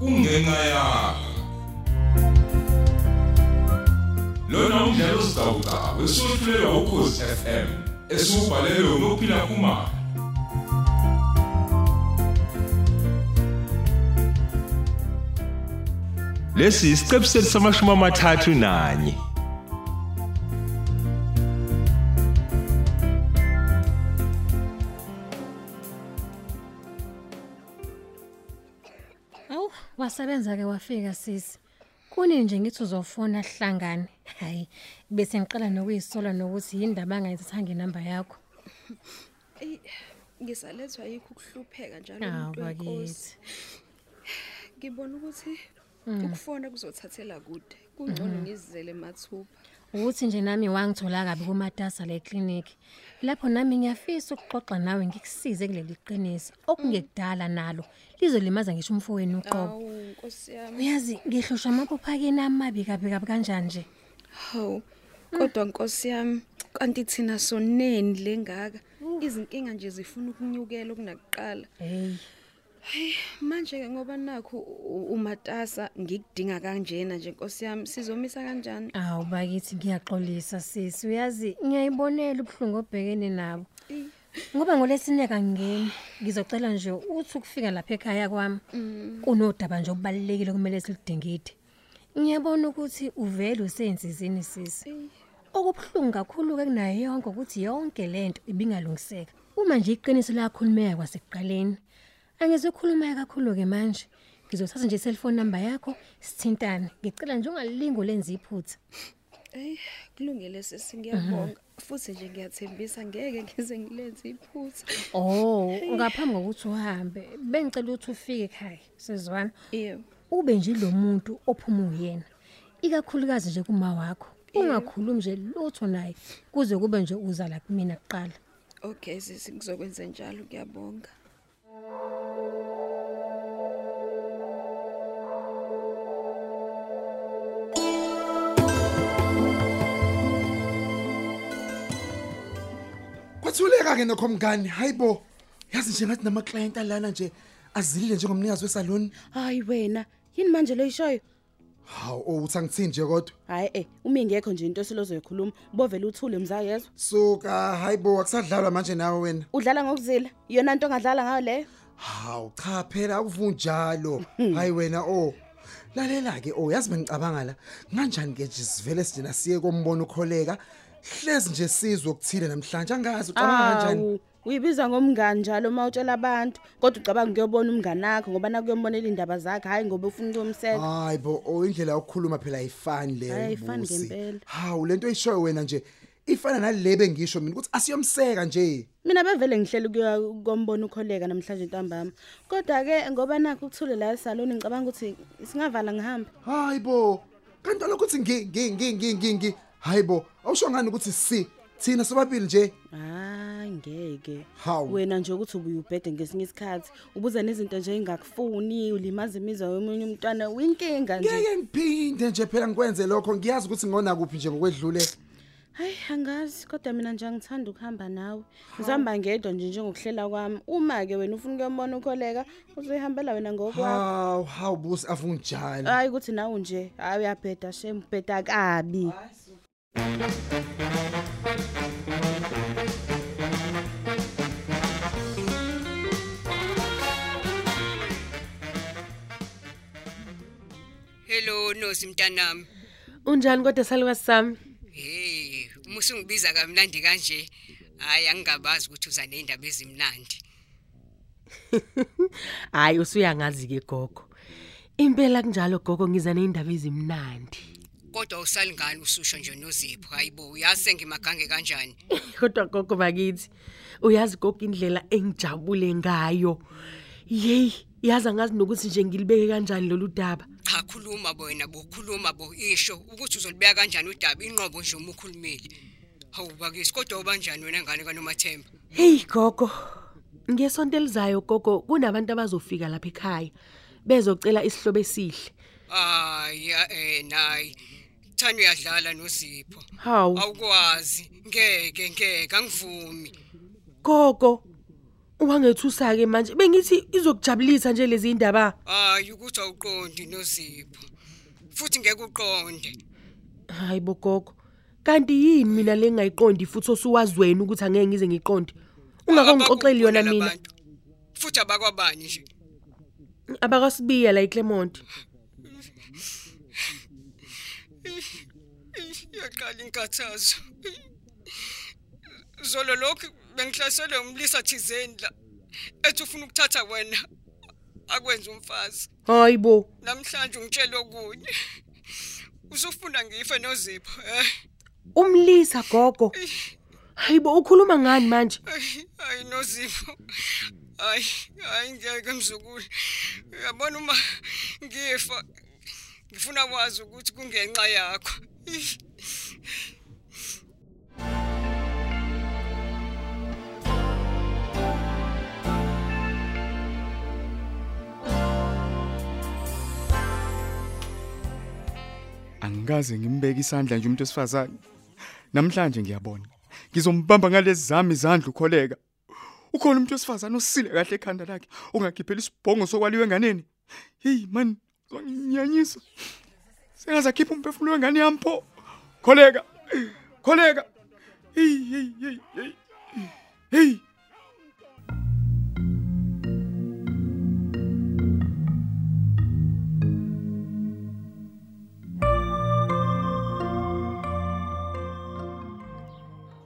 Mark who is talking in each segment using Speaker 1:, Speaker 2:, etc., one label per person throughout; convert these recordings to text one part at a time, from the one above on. Speaker 1: 应该呀。lona umdlalo sizawudlala wesohlulelwa ukhozi FM esiwubhalelwe unophila kumali
Speaker 2: Lesi isiqephu sethu samashumi amathathu nanye.
Speaker 3: Awu, wasebenza ke wafika sisi. Kuni nje ngithi uzofona hlangane. Hayi, bese ngiqala nokuyisola nokuthi indaba angayithanga inamba yakho.
Speaker 4: Eyi, ngisalethwa yikho ukuhlupheka njalo
Speaker 3: Hawu
Speaker 4: umuntu wenkosi.
Speaker 3: bakithi. Hmm.
Speaker 4: Ngibona ukuthi ukufona kuzothathela kude. Kungcono ngizizele mathupha.
Speaker 3: Ukuthi nje nami wangithola kabi kumatasa le clinic. Lapho nami ngiyafisa ukuxoxa nawe ngikusize kuleli qiniso okungekudala nalo. Lizolimaza ngisho umfowenu uqobo.
Speaker 4: Awu Nkosi yami.
Speaker 3: Uyazi ngihlushwa amaphupha kini amabi kabi kabi kanjani nje.
Speaker 4: Hawu. Kodwa Nkosi yami, kanti thina soneni lengaka. Izinkinga nje zifuna ukunyukela kunakuqala.
Speaker 3: Hey,
Speaker 4: Hayi, manje ke ngoba nakho u- umatasa ngikudinga kanjena nje Nkosi yami, sizomisa kanjani?
Speaker 3: awu bakithi ngiyaxolisa sisi. Uyazi ngiyayibonela ubuhlungu obhekene nabo.
Speaker 4: Eyi,
Speaker 3: Ngoba ngolesineka ngingeni ngizocela nje uthi ukufika lapha ekhaya kwami kunodaba nje obalekile kumele silidingide. Ngiyabona ukuthi uvele usenzizini sisi.
Speaker 4: eyi.
Speaker 3: Okubhlungu kakhulu ke kunayo yonke ukuthi yonke lento ibingalungiseka. Uma nje iqiniso lakhulumeka kwasekuqaleni. Angizokhuluma kakhulu ke manje. Ngizothatha nje i-cellphone number yakho sithintane. Ngicela nje ungalingo lenza iphutha.
Speaker 4: Eh, kulungile sisi ngiyabonga.
Speaker 3: Mhm.
Speaker 4: Futhi nje ngiyathembisa ngeke ngize ngilenze iphutha.
Speaker 3: Oh, ngaphambi kokuthi uhambe, bengicela ukuthi ufike ekhaya. Sizwana.
Speaker 4: Yebo.
Speaker 3: ube nje lo muntu ophuma uyena ikakhulukazi nje kuma wakho ungakhulumi nje lutho naye kuze kube nje uzala kumina kuqala
Speaker 4: Okay sisi ngizokwenza njalo ngiyabonga.
Speaker 5: kwathuleka ke nokho mngani hayibo yazi nje ngathi nama client alana nje azilile njengomnikazi wesalon
Speaker 6: Hayi wena, yini manje loyishoyo?
Speaker 5: hawu oh uthi angithini nje kodwa
Speaker 6: Hayi eh, uma ingekho nje into esilozoyikhuluma, bovela uthule mzayezwa.
Speaker 5: suka hayibo akusadlalwa manje nawe wena
Speaker 6: Udlala ngokuzila, iyona into ongadlala ngayo leyo.
Speaker 5: hawu cha phela akuvunjalo
Speaker 6: Mhm.
Speaker 5: hayi wena oh lalela ke oh yazi bengicabanga la kanjani ke nje sivele sijina siye kombono ukholeka hlezi nje sizwe ukuthile namhlanje angazi ucabanga kanjani
Speaker 6: Awu, Ah, Uyibiza ngomngani njalo mawutshela abantu, kodwa ucabanga ukuyobona umngani wakho ngoba nakuyombonela indaba zakhe, hayi ngoba ufuna ukumseka.
Speaker 5: hayibo oh indlela yokukhuluma phela ayifani leyo
Speaker 6: Hhayi, ayifani
Speaker 5: Mbusi.
Speaker 6: ngempela.
Speaker 5: hawu lento oyishoyo wena nje ifana nalele bengisho mina ukuthi asiyomseka nje
Speaker 6: Mina bevele ngihlele ukuya kombona ukholeka namhlanje ntambama. Kodwa ke ngoba nakho ukuthule la salon ngicabanga ukuthi singavala ngihambe.
Speaker 5: hayibo kanti lokuthi ngi ngi ngi ngi ngi ngi hayibo awusho ngani ukuthi si thina sobabili nje
Speaker 6: Hayi ngeke.
Speaker 5: Hawu.
Speaker 6: Wena nje ukuthi ubuye ubhede ngesinye isikhathi, ubuza nezinto nje engakufuni, ulimaza imizwa yomunye umntwana, uyinkinga nje.
Speaker 5: ngeke ngiphinde nje phela ngikwenze lokho ngiyazi ukuthi ngona kuphi nje ngokwedlule
Speaker 6: Hayi angazi kodwa mina nje angithanda ukuhamba nawe. Ngizihamba ngedwa nje njengokuhlela kwami. Uma ke wena ufuna ukuyobona ukholeka, uzoyihambela wena ngokwakho.
Speaker 5: hawu hawu busi afunjalo
Speaker 6: Hayi ukuthi nawe nje, hayi uyabheda shem, bheda kabi.
Speaker 7: Hello Nosi mntanami.
Speaker 8: Unjani kodwa salukazi sami?
Speaker 7: Hey, musungibiza kamnandi kanje. Hayi angingabazi ukuthi uza neindaba ezimnandi.
Speaker 8: Hayi usuyangazi ke gogo. Impela kunjalo gogo ngiza neindaba ezimnandi.
Speaker 7: Kodwa usalingani ususho nje noZipho. Hayibo, uyazi sengimagange kanjani.
Speaker 8: Kodwa gogo bakithi, uyazi gogo indlela engijabule ngayo. Yey, yazi angazi nokuthi nje ngilibeke kanjani lolu daba.
Speaker 7: Cha khuluma bo wena bo khuluma bo isho ukuthi uzolibeka kanjani udaba inqobo nje uma ukhulumile. Hawu bakisi kodwa ubanjani wena ngane kaNomathemba?
Speaker 8: Hey gogo. Ngesonto elizayo gogo kunabantu abazofika lapha ekhaya bezocela isihlobo esihle.
Speaker 7: Hayi eh nayi. Thani uyadlala noZipho.
Speaker 8: Hawu
Speaker 7: Awukwazi. Ngeke ngeke angivumi.
Speaker 8: gogo. wangethusa-ke manje bengithi izokujabulisa nje lezi ndaba
Speaker 7: hayi ukuthi awuqondi nozipho futhi ngeke uqonde
Speaker 8: hayi bogogo kanti yini mina le ngayiqondi futhi osuwazi wena ukuthi angeke ngize ngiqonde ungakongixoxeli yona
Speaker 7: Abakubona
Speaker 8: mina
Speaker 7: labantu. futhi abakwabani nje
Speaker 8: abakasibiya la iclemont
Speaker 7: yaqala inkathazo zolo lokhu bengihlaselwe umlisa thizeni la ethi ufuna ukuthatha wena akwenza umfazi
Speaker 8: hayi bo
Speaker 7: namhlanje ungitshela okunye usufuna ngife nozipho eh
Speaker 8: umlisa gogo hayi bo ukhuluma ngani manje
Speaker 7: Ayi, ayi nozipho ayi ayi ngeke mzukulu uyabona uma ngifa ngifuna kwazi ukuthi kungenxa yakho
Speaker 9: angikaze ngimbeke isandla nje umuntu wesifazane namhlanje ngiyabona ngizombamba ngalezi zami izandla ukholeka ukhona umuntu wesifazane osile kahle ekhanda lakhe ongakhipheli isibhongo sokwaliwe enganeni heyi mani zonginyanyisa sengazakhipha umphefumulo wengane yami pho kholeka kholeka heyi heyi heyi heyi heyi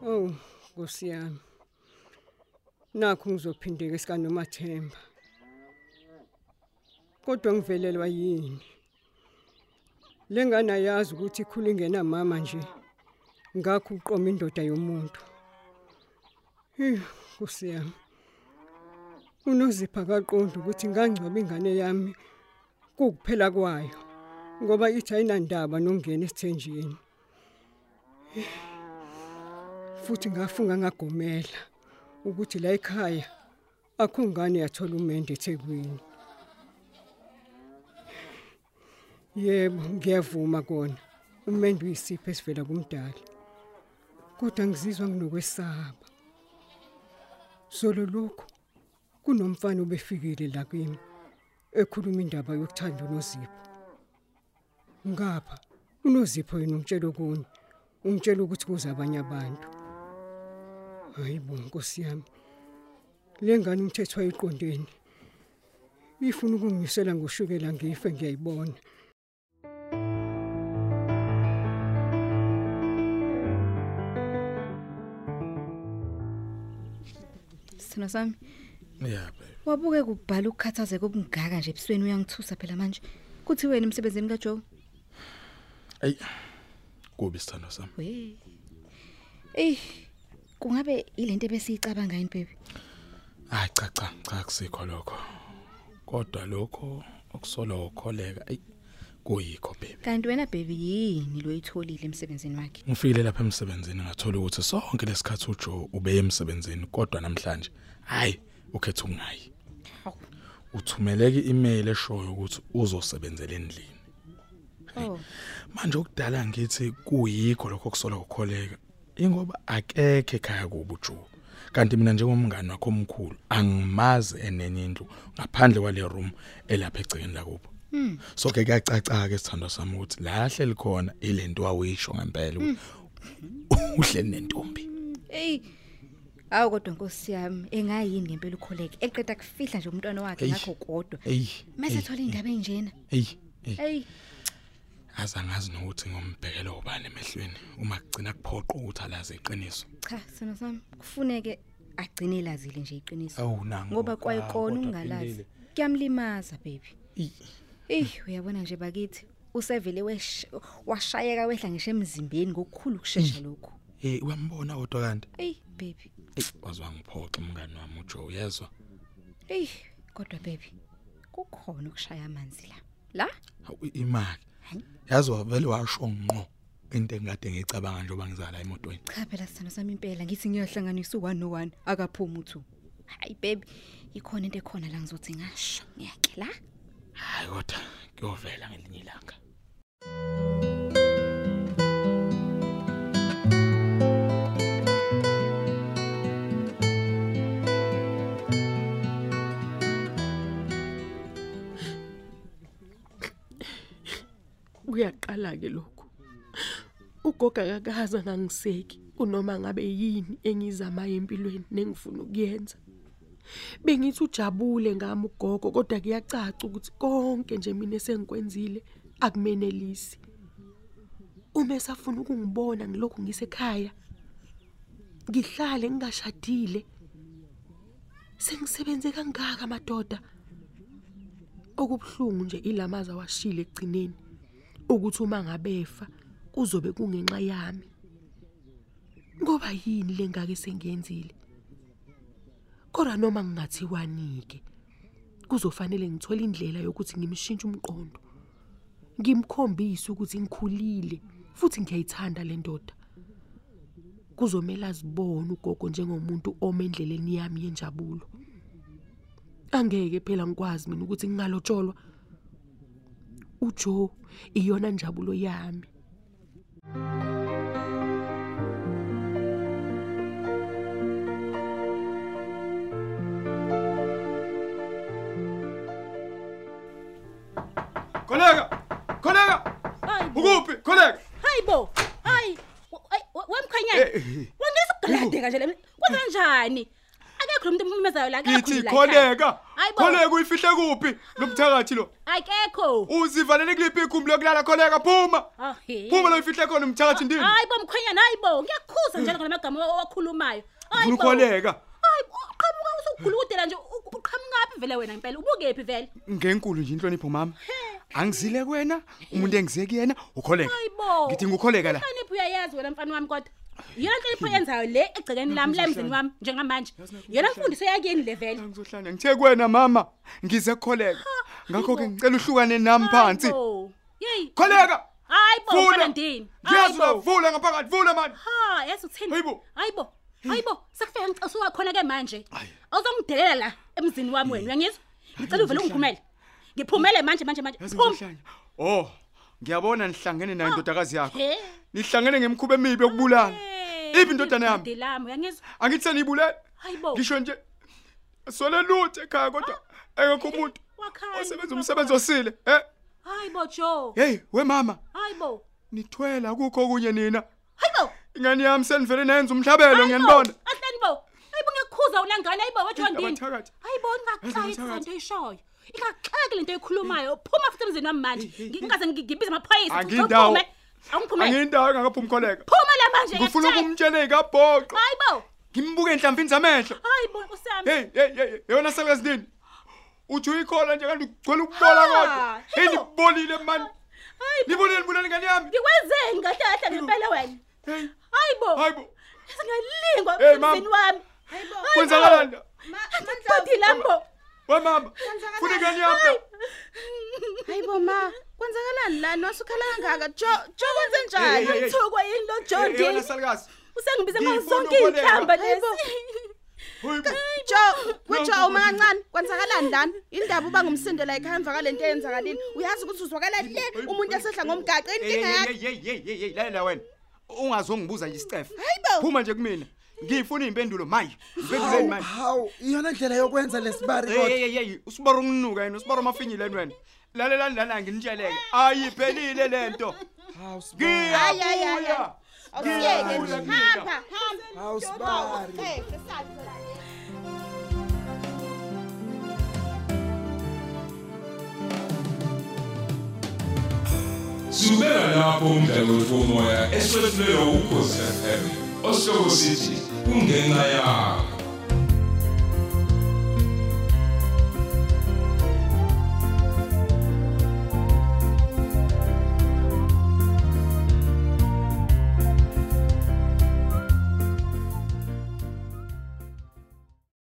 Speaker 10: Oh, Nkosi yami. Nakho ngizophindeka esikaNomathemba. Kodwa ngivelelwa yini? Lengana yazi ukuthi ikhulu ingena mama nje. Ngakho uqoma indoda yomuntu. Eh, Nkosi yami. Unozipha kaqondo ukuthi ngangcwaba ingane yami kukuphela kwayo. Ngoba ithi ayinandaba nokungena esithenjini. futhi ngafunga ngagomela ukuthi la ekhaya akho ngane yathola umende eThekwini. Yebo, ngiyavuma kona. Umende uyisipho esivela kumdali. Kodwa ngizizwa nginokwesaba. Solo lokho kunomfana obefikile la kimi ekhuluma indaba yokuthanda unozipho. Ngapha unozipho yena umtshela okunye. Ungitshela ukuthi kuza abanye abantu. Hayibo Nkosi yami. Le ngane umthethwa iqondeni. Ifuna ukungisela ngoshukela ngife ngiyayibona.
Speaker 4: Sithina sami.
Speaker 11: Yeah babe.
Speaker 4: Wabuke kubhala ukukhathazeka obungaka nje ebusweni uyangithusa phela manje. Kuthi wena emsebenzini kaJoe?
Speaker 11: Ey. Kubi sithando sami.
Speaker 4: We. Eh, kungabe ilento ebesiyicabanga yini baby?
Speaker 11: Hayi cha cha cha kusikho lokho. Kodwa lokho okusolo ukholeka ey kuyikho babe.
Speaker 4: Kanti wena baby yini lo yitholile emsebenzini wakhe?
Speaker 11: Ngifile lapha emsebenzini ngathola ukuthi sonke lesikhathi uJo ube emsebenzini kodwa namhlanje hayi ukhetha ungayi.
Speaker 4: Hawu.
Speaker 11: Uthumeleke i-email eshoyo ukuthi uzosebenzela endlini.
Speaker 4: Oh,
Speaker 11: Manje okudala ngithi kuyikho lokho kusola ukukholeka. Ingoba akekhe ekhaya kubo uJo. Kanti mina njengomngani wakho omkhulu angimazi enenye indlu ngaphandle kwale room elapha egcekeni lakubo. Mm. So ke kuyacaca ke sithando sami ukuthi lahle likhona ilento awuyisho ngempela ukuthi uhle nentombi.
Speaker 4: hey. Awu kodwa Nkosi yami, engayini ngempela ukholeke. Eqeda kufihla nje umntwana wakhe
Speaker 11: Eish.
Speaker 4: ngakho kodwa.
Speaker 11: Ey.
Speaker 4: Mase
Speaker 11: ey,
Speaker 4: thola indaba enjena.
Speaker 11: Ey. Ey.
Speaker 4: Hey,
Speaker 11: Azangazi nokuthi ngombhekela ubani emehlweni uma kugcina kuphoqa ukuthi alaze iqiniso.
Speaker 4: cha, sithina sami. Kufuneke agcine lazile nje iqiniso.
Speaker 11: Awu nangu.
Speaker 4: ngoba
Speaker 11: Ah,
Speaker 4: kwayikona
Speaker 11: kodwa
Speaker 4: ungalazi
Speaker 11: philile.
Speaker 4: kuyamlimaza baby
Speaker 11: Eyi.
Speaker 4: eyi uyabona nje bakithi usevele wesh- washayeka wehla ngisho emzimbeni ngokukhulu ukushesha lokhu
Speaker 11: Eh uyambona kodwa kanti
Speaker 4: eyi baby
Speaker 11: Ey, wazwa ngiphoxa umngani wami uJo uyezwa.
Speaker 4: eyi kodwa baby kukhona ukushaya amanzi la la
Speaker 11: Hawu, i- Imali. Yazwa vele washo ngqo into engade ngicabanga njengoba ngizala emotweni.
Speaker 4: cha phela sithando sami impela ngithi ngiyohlanganisa u-one no-one akaphumi uthu hayi baby ikhona into ekhona la ngizothi ngasho ngiyake la
Speaker 11: Hayi kodwa kuyovela ngelinye ilanga.
Speaker 8: kuyaqala-ke lokhu ugogo akakaze angangiseki kunoma ngabe yini engizamayo empilweni nengifuna ukuyenza bengithi ujabule ngami ugogo kodwa kuyacaca ukuthi konke nje mina esengikwenzile akumenelisi uma esafuna ukungibona ngilokhu ngisekhaya ngihlale ngingashadile sengisebenze kangaka madoda okubhlungu nje ilamaza washile egcineni ukuthi uma ngabefa kuzobe kungenxa yami ngoba yini lengake sengiyenzile kodwa noma ngingathiwanike kuzofanele ngithole indlela yokuthi ngimshintshe umqondo ngimkhombise ukuthi ngikhulile futhi ngiyayithanda le ndoda kuzomela azibone ugogo njengomuntu oma endleleni yami yenjabulo angeke phela ngikwazi mina ukuthi ngingalotsholwa ujo iyona njabulo yami
Speaker 9: Kollega! Kollega! Ukuphi? Kollega!
Speaker 12: hayi bo hayi w- ay, w-
Speaker 9: Eh,
Speaker 12: wemkhwenyana wangesigqaladeka nje le kwenza kanjani akekho lo muntu emphumezayo la akekho
Speaker 9: Ngithi
Speaker 12: la
Speaker 9: kollega!
Speaker 12: ekhaya. Hayi bo,
Speaker 9: Kollega uyifihle kuphi? Lo mthakathi lo.
Speaker 12: akekho
Speaker 9: Uzivalele kuliphi igumbi lokulala kollega phuma.
Speaker 12: Ahe.
Speaker 9: Phuma lo uyifihle khona umthakathi ndini.
Speaker 12: hayi bo mkhwenyana hayi bo ngiyakhuza njalo ngalamagama owakhulumayo Hayi bo.
Speaker 9: Ukholeka
Speaker 12: hayi bo, uqhamuka usugulukudela nje u- uqhamukaphi vele wena impela ubukephi vele
Speaker 9: ngenkulu nje inhlonipho mama. Angizile kuwena umuntu engize kuyena ukholeka.
Speaker 12: hayi bo
Speaker 9: Ngithi ngukholeka la.
Speaker 12: inhlonipho uyayazi wena mfana wami kodwa yona nhlonipho yenzayo le egcekeni lami la emzini wami njengamanje yona mfundiso yakuyeni le vele
Speaker 9: Ngizohlala ngithe kuwena mama ngize kukholeka. Ngakho ke ngicela uhlukane nami phansi.
Speaker 12: yeyi
Speaker 9: Koleka!
Speaker 12: hayi bo
Speaker 9: Vula!
Speaker 12: mfana ndini
Speaker 9: Yazi uvula ngaphakathi vula manje.
Speaker 12: ha yazi uthini hayi bo hayi bo sekufika ngicasuka khona ke manje awuzongidelela la emzini wami wena uyangizwa ngicela uvele ungiphumele ngiphumele manje manje manje phuma
Speaker 9: Oh, ngiyabona nihlangene nayo indodakazi yakho.
Speaker 12: he
Speaker 9: Nihlangene ngemkhuba emibi yokubulala. Iphi indodana yami?
Speaker 12: dilami uyangizwa
Speaker 9: Angithi senibulele.
Speaker 12: hayi bo
Speaker 9: Ngisho nje sole luthe ekhaya kodwa engekho umuntu
Speaker 12: wakhanya
Speaker 9: osebenza umsebenzi osile. Eh,
Speaker 12: hayi bo jo
Speaker 9: hey, we mama,
Speaker 12: hayi bo
Speaker 9: nithwela kukho kunye nina.
Speaker 12: Hayibo.
Speaker 9: Ingane yami senivele nenza umhlabelo ngiyanibona.
Speaker 12: ahlani bo hayi bo ngiyakhuza wena ngane hayi bo wajondini hayi bo ningaxaki
Speaker 9: Abathakathi.
Speaker 12: lento oyishoyo ingaxaki lento oyikhulumayo phuma futhi emzini wami manje ngingaze ngibize amaphoyisa ukuthi
Speaker 9: Angindawo.
Speaker 12: uphume. awungiphumele
Speaker 9: Angindawo engaphumi kholeka.
Speaker 12: phuma la manje
Speaker 9: Ngifuna
Speaker 12: ngiyakutshela.
Speaker 9: ukumtshela ikabhoqo.
Speaker 12: hayi bo
Speaker 9: Ngimbuke enhlambini zamehlo.
Speaker 12: hayi bo usami
Speaker 9: Hey, hey, hey, yona salukazi nini? Uthi uyikhola nje kanti ugcwele ukubola kodwa. Hey, nibolile mani. Nibulele nibulele ngane yami.
Speaker 12: ngikwenzeni kahle kahle ngempela wena hayi bo hayi
Speaker 9: bo
Speaker 12: singalingwa
Speaker 9: Hey, mama.
Speaker 12: emzini wami hayi bo
Speaker 9: Kwenzakalani la?
Speaker 12: kodwa lambo
Speaker 9: We mama, funa ingane yami. la.
Speaker 6: hayibo ma kwenzakalani lani wasukhala kangaka jo jo kwenze
Speaker 9: Hey, hey, hey.
Speaker 6: njani
Speaker 12: Ngithukwa yini lo Jo
Speaker 9: Hey, hey, yona
Speaker 12: Ndini?
Speaker 9: salukazi.
Speaker 12: usengibize
Speaker 9: Ngifuna
Speaker 12: mazonke
Speaker 9: ukuboleka.
Speaker 12: ihlamba
Speaker 6: Hayibo.
Speaker 12: lesi
Speaker 6: jo wejo uma kancane kwenzakalani lana indaba uba ngumsindo la ekhaya emva kwalento eyenzakalile uyazi ukuthi uzwakala le umuntu esedla ngomgaqo inkinga yakhe
Speaker 9: Hey, hey, hey, hey, lalela wena. Ungazongibuza nje isicefe.
Speaker 6: Hayibo.
Speaker 9: Phuma nje kumina. Ngifuna impendulo manje. Impendulo
Speaker 5: Hawu,
Speaker 9: manje.
Speaker 5: hawu iyona ndlela yokwenza lesibari
Speaker 9: Hey, hey, hey, hey, usibara umnuka yena, usibara amafinyile wena. Lalelani lana nginitsheleke. Ayiphelile lento.
Speaker 5: Hawu,
Speaker 9: Hayi, hayi, hayi.
Speaker 6: awusiyeke
Speaker 9: Ngiyabuya
Speaker 6: nje
Speaker 9: mina.
Speaker 6: hamba hamba
Speaker 5: Hawu,
Speaker 6: Joba,
Speaker 5: sibali.
Speaker 6: ucefe, sadla.
Speaker 1: sibeka lapho umdlalo womoya eswetshwelwa ukhosi fm osihloko sithi kungenxa yakho